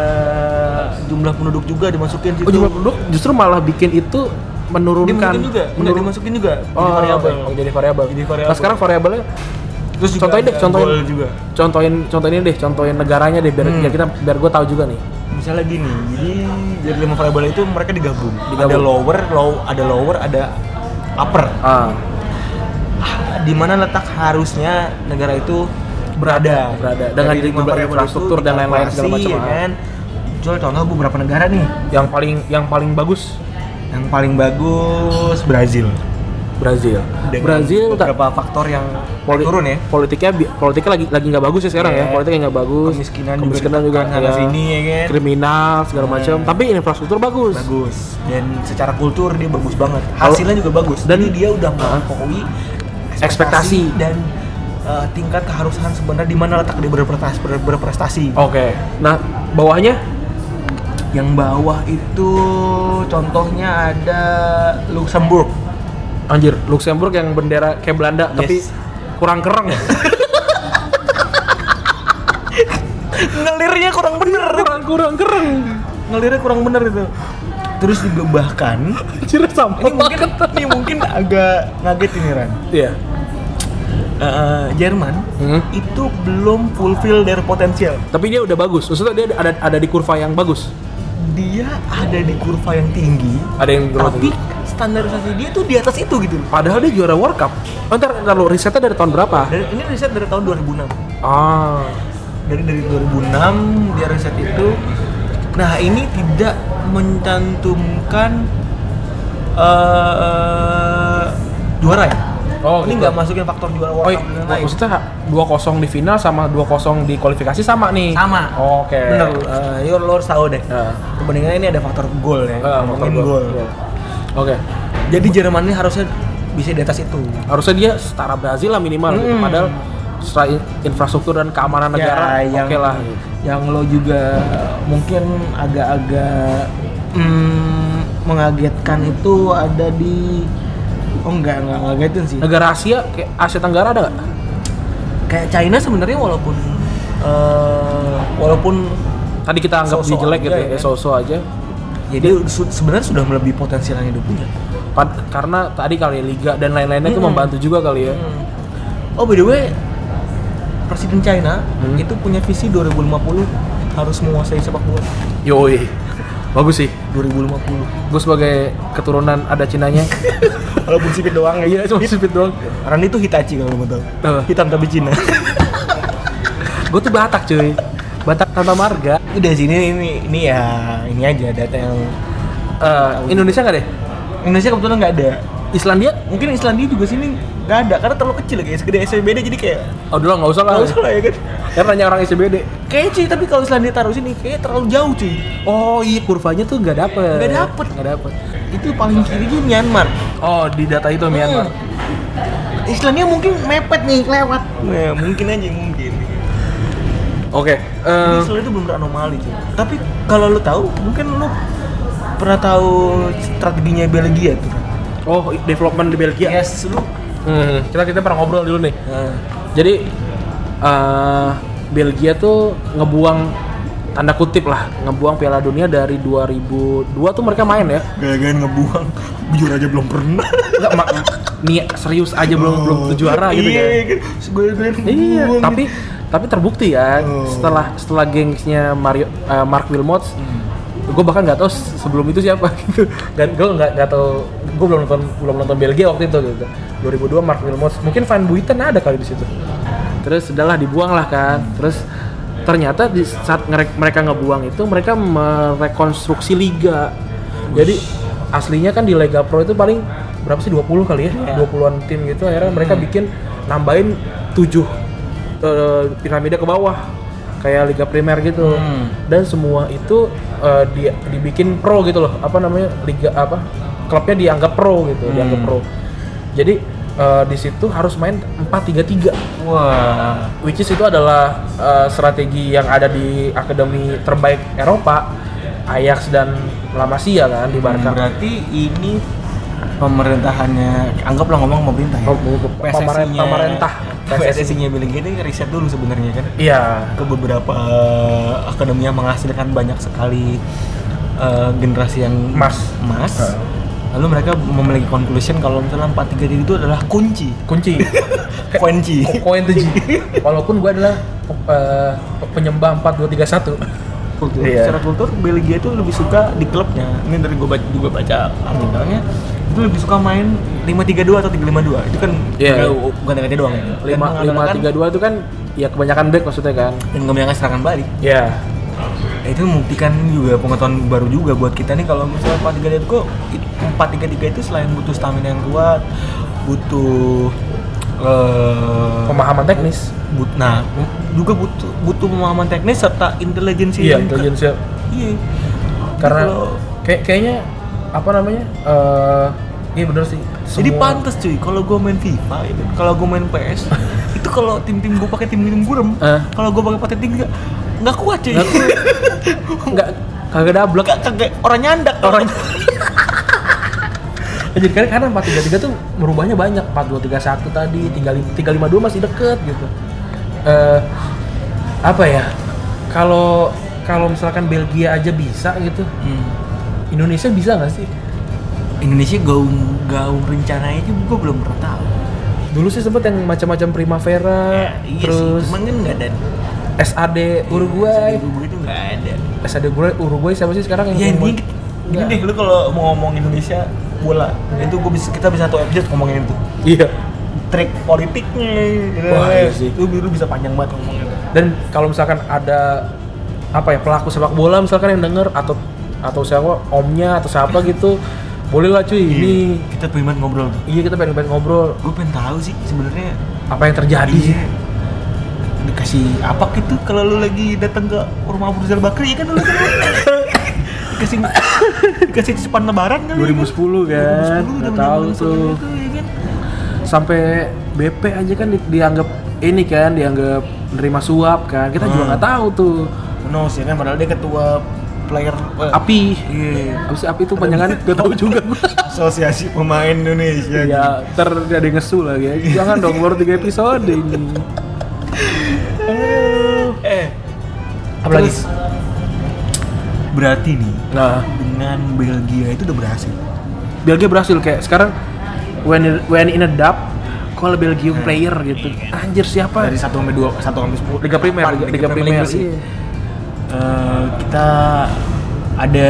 Speaker 3: jumlah penduduk juga dimasukin situ.
Speaker 2: Oh, jumlah penduduk justru malah bikin itu menurunkan
Speaker 3: dimasukin juga, enggak
Speaker 2: menurun-
Speaker 3: dimasukin juga. Jadi
Speaker 2: Oh,
Speaker 3: variabel.
Speaker 2: oh, jadi variabel.
Speaker 3: Jadi variabel.
Speaker 2: Nah, sekarang variabelnya
Speaker 3: Terus juga
Speaker 2: contohin deh,
Speaker 3: ada
Speaker 2: contohin.
Speaker 3: gol juga.
Speaker 2: contohin contohin deh, contohin negaranya deh biar
Speaker 3: Hmm.
Speaker 2: biar kita biar gue tahu juga nih.
Speaker 3: misalnya gini jadi dari lima variabel itu mereka digabung.
Speaker 2: Digabung.
Speaker 3: ada lower low ada lower ada upper
Speaker 2: Ah,
Speaker 3: Ah, di mana letak harusnya negara itu berada
Speaker 2: Berada. Dengan
Speaker 3: Dari lima
Speaker 2: jumlah
Speaker 3: variabel
Speaker 2: infrastruktur
Speaker 3: itu
Speaker 2: dan lain-lain segala
Speaker 3: dikalkulasi,
Speaker 2: macam. ah.
Speaker 3: ya kan Jual contoh beberapa negara nih
Speaker 2: yang paling yang paling bagus
Speaker 3: yang paling bagus Brazil
Speaker 2: Brazil.
Speaker 3: Dengan
Speaker 2: Brazil tak-
Speaker 3: beberapa faktor yang
Speaker 2: poli-
Speaker 3: turun ya
Speaker 2: Politiknya bi- politiknya lagi lagi nggak bagus ya sekarang
Speaker 3: Iya.
Speaker 2: ya. Politiknya nggak bagus.
Speaker 3: Kemiskinan juga
Speaker 2: kemiskinan juga, iya.
Speaker 3: ditekan sana sini, ya kan?
Speaker 2: Kriminal segala macam, tapi infrastruktur Iya. bagus.
Speaker 3: bagus dan secara kultur dia bagus banget hasilnya juga bagus dan
Speaker 2: Dan-
Speaker 3: dia udah melampaui
Speaker 2: Ekspektasi.
Speaker 3: dan uh, tingkat keharusan sebenarnya di mana letak dia berprestasi, ber- berprestasi.
Speaker 2: Oke. Nah, bawahnya
Speaker 3: yang bawah itu contohnya ada Luxembourg
Speaker 2: Anjir, Luxembourg yang bendera kayak Belanda
Speaker 3: Yes.
Speaker 2: tapi kurang kereng.
Speaker 3: [LAUGHS] ngelirnya kurang bener
Speaker 2: [LAUGHS] kurang kurang keren
Speaker 3: ngelirnya kurang bener itu terus juga bahkan
Speaker 2: anjir sama
Speaker 3: [LAUGHS] ini mungkin ini mungkin agak ngaget ini Ran
Speaker 2: iya
Speaker 3: Eh, Jerman
Speaker 2: Hmm.
Speaker 3: itu belum fulfill their potential
Speaker 2: tapi dia udah bagus maksudnya dia ada ada di kurva yang bagus
Speaker 3: dia ada di kurva yang tinggi
Speaker 2: ada yang
Speaker 3: tapi standarisasi dia tuh di atas itu gitu loh
Speaker 2: padahal dia juara World Cup oh, ntar, ntar lu risetnya dari tahun berapa
Speaker 3: dari, ini riset dari tahun 2006
Speaker 2: ah
Speaker 3: dari dari 2006 dia riset itu nah ini tidak mencantumkan eh juara ya
Speaker 2: Oh,
Speaker 3: ini
Speaker 2: gitu.
Speaker 3: nggak masukin faktor juara
Speaker 2: Oh,
Speaker 3: World Cup dan lain-lain.
Speaker 2: maksudnya 2-0 di final sama 2-0 di kualifikasi sama nih?
Speaker 3: sama
Speaker 2: Oke.
Speaker 3: bener eh, your lord tahu deh
Speaker 2: Nah,
Speaker 3: perbandingan ini ada faktor gol ya
Speaker 2: eh,
Speaker 3: ngomongin
Speaker 2: faktor
Speaker 3: gol
Speaker 2: gol. Oke.
Speaker 3: jadi Jerman ini harusnya bisa di atas itu
Speaker 2: Harusnya dia setara Brazil lah minimal gitu.
Speaker 3: Hmm.
Speaker 2: Padahal secara in- infrastruktur dan keamanan
Speaker 3: Ya,
Speaker 2: negara
Speaker 3: yang-
Speaker 2: oke lah. gitu.
Speaker 3: yang lo juga mungkin agak-agak mm, mengagetkan itu ada di oh enggak enggak ngagetin sih
Speaker 2: Negara Asia kayak Asia Tenggara ada nggak?
Speaker 3: kayak China sebenarnya walaupun eh, walaupun
Speaker 2: Tadi kita anggap
Speaker 3: So-so
Speaker 2: dia jelek
Speaker 3: aja
Speaker 2: gitu
Speaker 3: ya.
Speaker 2: ya, so-so aja.
Speaker 3: jadi ya su- sebenarnya sudah melebihi potensial yang dia punya
Speaker 2: Pad- karena tadi kali ya, liga dan lain-lainnya itu
Speaker 3: Mm-mm.
Speaker 2: membantu juga kali ya.
Speaker 3: oh by the way Presiden China
Speaker 2: Hmm.
Speaker 3: itu punya visi 2050 harus menguasai sepak bola
Speaker 2: Yoi. Bagus sih.
Speaker 3: 2050
Speaker 2: Gue sebagai keturunan ada Cinanya.
Speaker 3: [LAUGHS] walaupun sipit doang ya
Speaker 2: Iya, cuma sipit doang.
Speaker 3: Karena itu Hitachi kalau mau tahu
Speaker 2: Apa?
Speaker 3: hitam tapi Cina [LAUGHS]
Speaker 2: Gue tuh Batak cuy. Batak tanpa marga.
Speaker 3: udah sini ini ini ya ini aja data yang
Speaker 2: Eh, Indonesia nggak deh?
Speaker 3: Indonesia kebetulan nggak ada
Speaker 2: Islandia?
Speaker 3: mungkin Islandia juga sini nggak ada karena terlalu kecil kayak segede SMBD jadi kayak
Speaker 2: Oh dulu nggak usah lah.
Speaker 3: nggak usah lah ya kan
Speaker 2: Ya nanya orang ICBD.
Speaker 3: kayaknya cuy tapi kalau Islandia taruh sini kayaknya terlalu jauh cuy
Speaker 2: Oh iya kurvanya tuh nggak dapet.
Speaker 3: Nggak dapet.
Speaker 2: Nggak dapet.
Speaker 3: itu paling kiri itu Myanmar
Speaker 2: Oh di data itu Myanmar.
Speaker 3: Hmm. Islandia mungkin mepet nih lewat nah mungkin aja mungkin
Speaker 2: Oke.
Speaker 3: Jadi
Speaker 2: eh,
Speaker 3: Islandia itu belum anomali cuy tapi kalau lu tahu mungkin lu pernah tahu strateginya Belgia tuh
Speaker 2: oh development di Belgia.
Speaker 3: yes lu
Speaker 2: Hmm, kita kita pernah ngobrol dulu nih. Jadi eh Belgia tuh ngebuang tanda kutip lah ngebuang Piala Dunia dari 2002 tuh mereka main ya.
Speaker 3: gaya ngebuang jujur aja belum pernah
Speaker 2: Enggak mak nih serius aja belum belum juara gitu
Speaker 3: iya,
Speaker 2: kan.
Speaker 3: kan gue
Speaker 2: Iya, tapi tapi terbukti ya
Speaker 3: Oh.
Speaker 2: setelah setelah gangsnya Mario eh, Mark Wilmots, gue bahkan nggak tahu se- sebelum itu siapa [LAUGHS] gitu. Dan gue nggak nggak tahu, gue belum nonton belum nonton Belgia waktu itu gitu. 2002 Mark Wilmots, mungkin Van Buiten ada kali di situ. Terus sudahlah dibuang lah kan. Terus ternyata di saat ngerek- mereka ngebuang itu mereka merekonstruksi liga. Jadi aslinya kan di Lega Pro itu paling berapa sih 20 kali ya? 20-an tim gitu akhirnya mereka bikin nambahin 7 eh, piramida ke bawah kayak liga primer gitu
Speaker 3: Hmm.
Speaker 2: dan semua itu eh, di- dibikin pro gitu loh apa namanya liga apa klubnya dianggap pro
Speaker 3: Hmm.
Speaker 2: gitu dianggap pro jadi eh, di situ harus main
Speaker 3: gitu.
Speaker 2: 4-3-3
Speaker 3: wah
Speaker 2: which is itu adalah eh, strategi yang ada di akademi terbaik Eropa Ajax dan La Masia kan di Barca
Speaker 3: Hmm, berarti ini pemerintahannya anggaplah ngomong pemerintah ya
Speaker 2: Oh, pemerintah- pemerintah.
Speaker 3: PSSI-nya bilang gini riset dulu sebenarnya kan
Speaker 2: iya
Speaker 3: ke beberapa eh, akademi yang menghasilkan banyak sekali eh, generasi yang
Speaker 2: Emas.
Speaker 3: emas
Speaker 2: Heeh.
Speaker 3: lalu mereka memiliki conclusion kalau misalnya 433 itu adalah kunci
Speaker 2: kunci
Speaker 3: [LAUGHS] kunci
Speaker 2: Ko- koin tuh Ji. walaupun gue adalah eh, penyembah 4231
Speaker 3: kultur.
Speaker 2: Iya.
Speaker 3: Secara kultur Belgia itu lebih suka di klubnya. Ini dari gue baca, juga baca artikelnya itu lebih suka main 5-3-2 atau 3-5-2. Itu kan
Speaker 2: Iya.
Speaker 3: nggak- bukan negatif doang ya. Dan
Speaker 2: lima lima
Speaker 3: mengandalkan-
Speaker 2: tiga dua itu kan ya kebanyakan back maksudnya kan
Speaker 3: dan kebanyakan serangan balik.
Speaker 2: ya
Speaker 3: Ya, itu membuktikan juga pengetahuan baru juga buat kita nih kalau misalnya 4-3-3 itu kok- itu 4-3-3 itu selain butuh stamina yang kuat, butuh eh,
Speaker 2: pemahaman teknis
Speaker 3: but, nah juga butuh butuh pemahaman teknis serta intelijensi
Speaker 2: iya
Speaker 3: yang ke-
Speaker 2: intelijensia
Speaker 3: iya
Speaker 2: karena
Speaker 3: Kalau-
Speaker 2: kayak kayaknya apa namanya eh iya bener sih semua,
Speaker 3: Jadi pantas cuy, kalau gue main FIFA, ya kan? kalau gue main
Speaker 2: [LAUGHS]
Speaker 3: PS, itu kalau tim-tim gue pakai tim-tim gurem,
Speaker 2: Eh.
Speaker 3: kalau gue pakai pakai tim nggak nggak kuat cuy.
Speaker 2: Nggak nggak kagak dablek
Speaker 3: Nggak [LAUGHS] kagak orang nyandak
Speaker 2: orang jadi karena karena empat tiga tiga tuh merubahnya banyak empat dua tiga satu tadi tiga lima tiga lima dua masih deket gitu eh apa ya kalau kalau misalkan Belgia aja bisa gitu,
Speaker 3: Hmm.
Speaker 2: Indonesia bisa nggak sih?
Speaker 3: Indonesia gaung gaung rencananya itu gue belum pernah tahu.
Speaker 2: Dulu sih sempet yang macam-macam Primavera,
Speaker 3: Ya,
Speaker 2: Eh,
Speaker 3: iya
Speaker 2: terus
Speaker 3: sih, cuman kan nggak ada.
Speaker 2: SAD Uruguay,
Speaker 3: Uruguay itu nggak ada.
Speaker 2: SAD Uruguay, Uruguay siapa sih sekarang
Speaker 3: Ya
Speaker 2: yang Iya.
Speaker 3: ini,
Speaker 2: ngomong-
Speaker 3: ini
Speaker 2: Nggak.
Speaker 3: deh lu kalau mau ngomong Indonesia bola itu gue bisa kita bisa satu episode ngomongin itu
Speaker 2: Iya.
Speaker 3: trik politiknya gitu.
Speaker 2: Wah, iya sih.
Speaker 3: itu dulu bisa panjang banget ngomongin itu
Speaker 2: Dan kalau misalkan ada apa ya pelaku sepak bola misalkan yang denger atau atau siapa omnya atau
Speaker 3: [LAUGHS]
Speaker 2: siapa gitu, bolehlah cuy ini
Speaker 3: Iya. kita pengen banget ngobrol tuh
Speaker 2: iya kita pengen pengen ngobrol
Speaker 3: gue pengen tahu sih sebenarnya
Speaker 2: apa yang terjadi sih.
Speaker 3: iya, dikasih apa gitu kalau lu lagi datang ke rumah Abu Rizal Bakri ya kan lu kan dikasih dikasih cicipan lebaran kan
Speaker 2: 2010 kan, nggak tahu tuh.
Speaker 3: iya
Speaker 2: sampai BP aja kan di- dianggap ini kan dianggap nerima suap kan kita juga
Speaker 3: Hmm.
Speaker 2: nggak tahu tuh
Speaker 3: no sih kan padahal dia ketua player eh,
Speaker 2: api
Speaker 3: iya
Speaker 2: apa sih api itu panjangan gak tahu juga gua.
Speaker 3: asosiasi pemain Indonesia
Speaker 2: ya ter ada yang ngesu lagi ya. jangan dong baru tiga episode ini
Speaker 3: gitu. eh
Speaker 2: Apalagi?
Speaker 3: terus, berarti nih
Speaker 2: nah
Speaker 3: dengan Belgia itu udah berhasil
Speaker 2: Belgia berhasil kayak sekarang when when in a dub call Belgium player gitu anjir siapa
Speaker 3: dari satu sampai dua satu sampai sepuluh
Speaker 2: Liga Primer
Speaker 3: Delapan,
Speaker 2: Liga, Liga Primer
Speaker 3: Inggris sih.
Speaker 2: iya.
Speaker 3: Eh, kita ada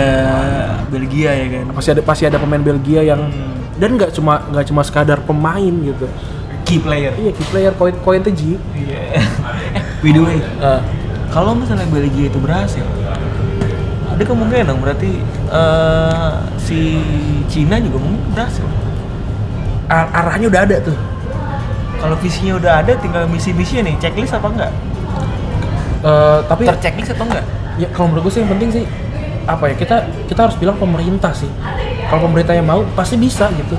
Speaker 3: Belgia ya kan
Speaker 2: pasti ada pasti ada pemain Belgia yang
Speaker 3: Hmm.
Speaker 2: dan nggak cuma nggak cuma sekadar pemain gitu
Speaker 3: key player
Speaker 2: iya key player point point ji
Speaker 3: iya by the way
Speaker 2: Ah,
Speaker 3: kalau misalnya Belgia itu berhasil ada kemungkinan dong berarti eh, si Cina juga mungkin berhasil
Speaker 2: Ar- arahnya udah ada tuh
Speaker 3: kalau visinya udah ada tinggal misi-misinya nih checklist apa enggak
Speaker 2: Eh, tapi
Speaker 3: terchecklist atau enggak
Speaker 2: ya kalau menurut gue sih yang penting sih apa ya kita kita harus bilang pemerintah sih kalau pemerintahnya mau pasti bisa gitu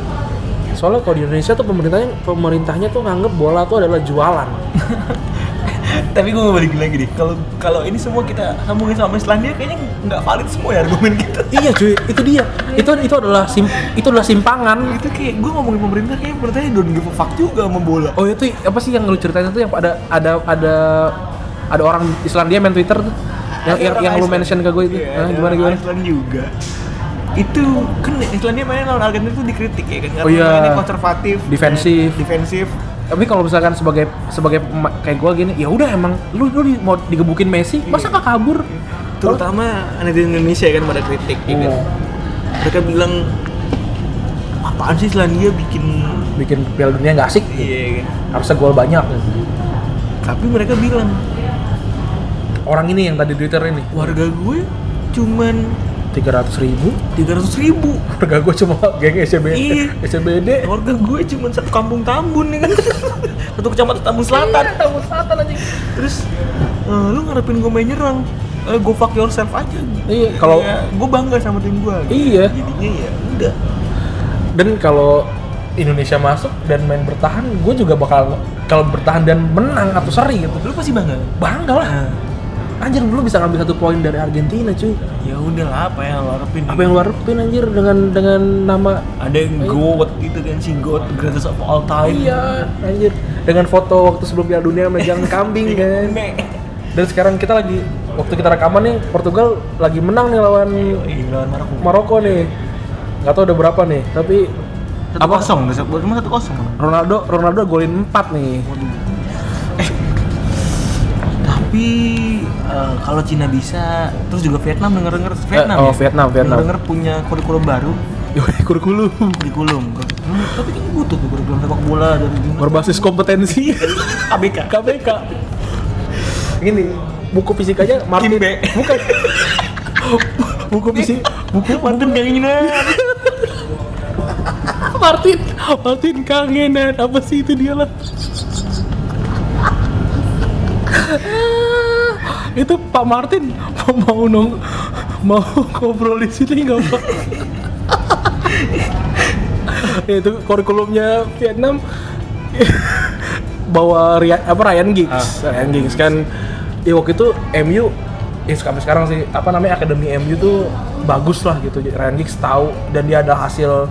Speaker 2: soalnya kalau di Indonesia tuh pemerintahnya pemerintahnya tuh nganggep bola tuh adalah
Speaker 3: [LAUGHS]
Speaker 2: jualan
Speaker 3: [LAUGHS] tapi gue mau balik lagi deh kalau kalau ini semua kita sambungin sama Islandia kayaknya nggak valid semua ya argumen kita
Speaker 2: iya cuy itu dia itu itu adalah sim, itu adalah simpangan
Speaker 3: itu kayak gue ngomongin pemerintah kayak pemerintahnya don't give a fuck juga sama bola
Speaker 2: oh itu apa sih yang lu ceritain itu yang ada ada ada ada orang Islandia main Twitter tuh yang yang, yang lu mention ke gue itu
Speaker 3: Iya,
Speaker 2: Hah,
Speaker 3: ada
Speaker 2: gimana
Speaker 3: orang
Speaker 2: gimana
Speaker 3: Iceland juga itu kan Islandia mainnya lawan Argentina itu dikritik ya kan karena
Speaker 2: Oh iya.
Speaker 3: mainnya konservatif
Speaker 2: Defensif.
Speaker 3: defensif
Speaker 2: tapi kalau misalkan sebagai sebagai pema- kayak gue gini ya udah emang lu lu di- mau digebukin Messi masa
Speaker 3: Iya.
Speaker 2: gak kabur
Speaker 3: terutama netizen Indonesia kan pada kritik ya kan
Speaker 2: Iya.
Speaker 3: mereka bilang apaan sih Islandia bikin
Speaker 2: bikin Piala Dunia nggak asik
Speaker 3: iya kan
Speaker 2: harusnya gol banyak
Speaker 3: tapi mereka bilang
Speaker 2: orang ini yang tadi di Twitter ini
Speaker 3: warga gue cuman
Speaker 2: tiga ratus ribu [LAUGHS]
Speaker 3: 300 ribu
Speaker 2: harga gue cuma geng SCBD
Speaker 3: Iya.
Speaker 2: SCBD
Speaker 3: warga gue cuman satu kampung Tambun ya kan [LAUGHS] satu kecamatan Tambun Selatan
Speaker 2: Tambun Iya, selatan aja
Speaker 3: terus eh, lu ngarepin gue main nyerang eh, go fuck yourself aja
Speaker 2: Iya, kalau-
Speaker 3: gue bangga sama tim gue
Speaker 2: Iya.
Speaker 3: jadinya ya udah
Speaker 2: dan kalau Indonesia masuk dan main bertahan gue juga bakal kalau bertahan dan menang atau seri gitu
Speaker 3: lu pasti bangga
Speaker 2: bangga lah
Speaker 3: Iya.
Speaker 2: anjir lu bisa ngambil satu poin dari Argentina cuy
Speaker 3: ya udahlah apa yang lu harapin
Speaker 2: apa yang lu harapin anjir dengan dengan nama
Speaker 3: ada yang goat gitu kan si goat greatest of all time
Speaker 2: iya anjir dengan foto waktu sebelum Piala Dunia megang
Speaker 3: [LAUGHS]
Speaker 2: kambing
Speaker 3: Iya.
Speaker 2: kan
Speaker 3: Nek.
Speaker 2: dan sekarang kita lagi waktu kita rekaman nih Portugal lagi menang nih lawan
Speaker 3: Ih, lawan Maroko
Speaker 2: Maroko nih nggak tahu udah berapa nih tapi
Speaker 3: satu kosong cuma satu kosong
Speaker 2: Ronaldo Ronaldo golin 4 nih
Speaker 3: Eh. tapi eh, kalau Cina bisa terus juga Vietnam denger denger Vietnam
Speaker 2: Eh, oh, Vietnam, Vietnam.
Speaker 3: denger punya kurikulum baru
Speaker 2: kurikulum
Speaker 3: kurikulum Hmm, tapi kan butuh tuh kurikulum sepak bola dan gimana
Speaker 2: berbasis kompetensi
Speaker 3: ABK
Speaker 2: KPK gini buku fisikanya Martin
Speaker 3: Kimbe.
Speaker 2: bukan buku fisik buku
Speaker 3: Martin Kanginan
Speaker 2: Martin Martin kangenan apa sih itu dia lah Ah, itu Pak Martin mau nong mau ngobrol di sini nggak pak [LAUGHS] Ya, itu kurikulumnya Vietnam bawa Ryan, apa Ryan Giggs Ryan Giggs kan ya waktu itu MU ya sampai sekarang sih apa namanya akademi MU tuh bagus lah gitu Jadi Ryan Giggs tahu dan dia ada hasil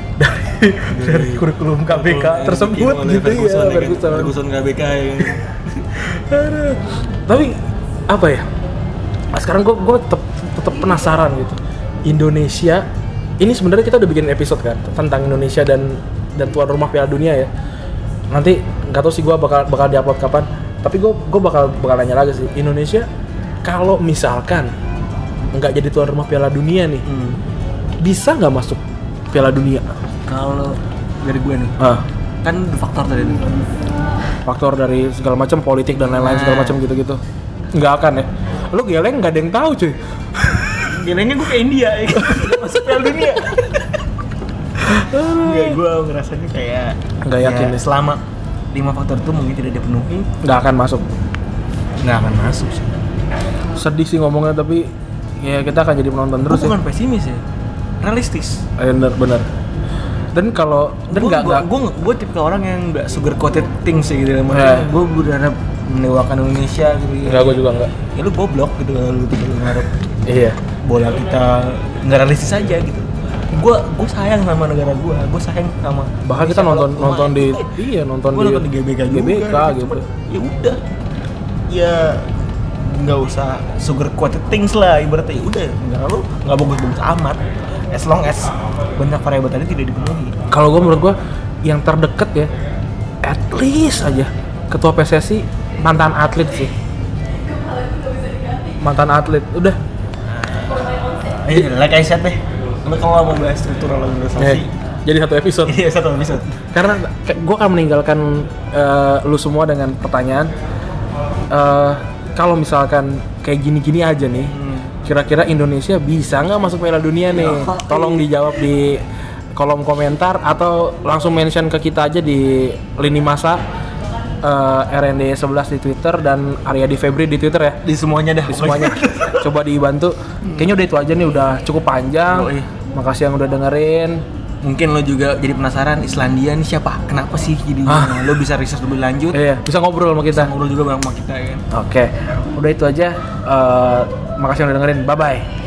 Speaker 2: [LAUGHS] dari, dari kurikulum KPK tersebut
Speaker 3: Iya,
Speaker 2: gitu ya
Speaker 3: ya.
Speaker 2: Ferguson.
Speaker 3: KBK yang
Speaker 2: Aduh. tapi apa ya Nah, sekarang gue gue tetap tetap penasaran gitu. Indonesia ini sebenarnya kita udah bikin episode kan tentang Indonesia dan dan tuan rumah Piala Dunia ya. Nanti nggak tahu sih gue bakal bakal diupload kapan. Tapi gue gue bakal bakal nanya lagi sih Indonesia kalau misalkan nggak jadi tuan rumah Piala Dunia nih bisa nggak masuk Piala Dunia?
Speaker 4: Kalau dari gue nih,
Speaker 2: Ah,
Speaker 4: kan faktor tadi itu.
Speaker 2: faktor dari segala macam politik dan lain-lain segala macam gitu-gitu nggak akan ya lu geleng nggak ada yang tahu cuy
Speaker 3: Gelengnya gue ke India
Speaker 4: [LAUGHS]
Speaker 3: ya. Masuk Piala Dunia.
Speaker 4: Ah.
Speaker 3: Enggak, gue ngerasanya kayak
Speaker 2: Nggak yakin
Speaker 3: ya,
Speaker 2: deh.
Speaker 3: Selama lima faktor itu mungkin tidak dipenuhi,
Speaker 2: nggak akan masuk
Speaker 3: nggak akan masuk sih.
Speaker 2: sedih sih ngomongnya tapi ya kita akan jadi penonton
Speaker 3: Terus
Speaker 2: terus ya
Speaker 3: bukan pesimis ya, realistis.
Speaker 2: Eh, bener bener dan kalau dan
Speaker 3: gue
Speaker 2: nggak
Speaker 3: gue
Speaker 2: nggak-
Speaker 3: gue gue tipe orang yang nggak sugar coated things ya gitu
Speaker 2: Eh.
Speaker 3: maksudnya gue berharap mendewakan Indonesia gitu ya.
Speaker 2: nggak gue juga nggak
Speaker 3: ya lu goblok gitu lu tiba lu ngarep
Speaker 2: iya
Speaker 3: bola kita nggak realistis aja gitu gue gue sayang sama negara gue gue sayang sama
Speaker 2: bahkan kita nonton nonton di iya nonton
Speaker 3: gue nonton di GBK juga
Speaker 2: GBK gitu
Speaker 3: Cuman, ya udah ya nggak usah sugar coated things lah ibaratnya ya udah negara lu nggak bagus bagus amat as long as banyak variabel tadi tidak dipenuhi
Speaker 2: kalau gue menurut gue yang terdekat ya at least aja ketua PSSI mantan atlet sih mantan atlet udah
Speaker 3: Iya, like I said deh. Lu kalau mau bahas struktural
Speaker 2: Eh,
Speaker 3: organisasi,
Speaker 2: jadi satu episode
Speaker 3: iya satu episode.
Speaker 2: karena gue akan meninggalkan eh, lu semua dengan pertanyaan eh, kalau misalkan kayak gini-gini aja nih kira-kira Indonesia bisa nggak masuk Piala Dunia nih tolong dijawab di kolom komentar atau langsung mention ke kita aja di lini masa eh, RND 11 di Twitter dan Aryadi Febri di Twitter ya
Speaker 3: Di semuanya dah.
Speaker 2: di semuanya [LAUGHS] coba dibantu kayaknya udah itu aja nih udah cukup panjang
Speaker 3: Yoi.
Speaker 2: makasih yang udah dengerin
Speaker 3: Mungkin lo juga jadi penasaran Islandia nih siapa? Kenapa sih jadi
Speaker 2: Ah.
Speaker 3: lo bisa riset lebih lanjut.
Speaker 2: Iya, bisa ngobrol sama kita
Speaker 3: Ngobrol juga bareng sama kita ya.
Speaker 2: Oke, udah itu aja. Eh, makasih yang udah dengerin. Bye bye.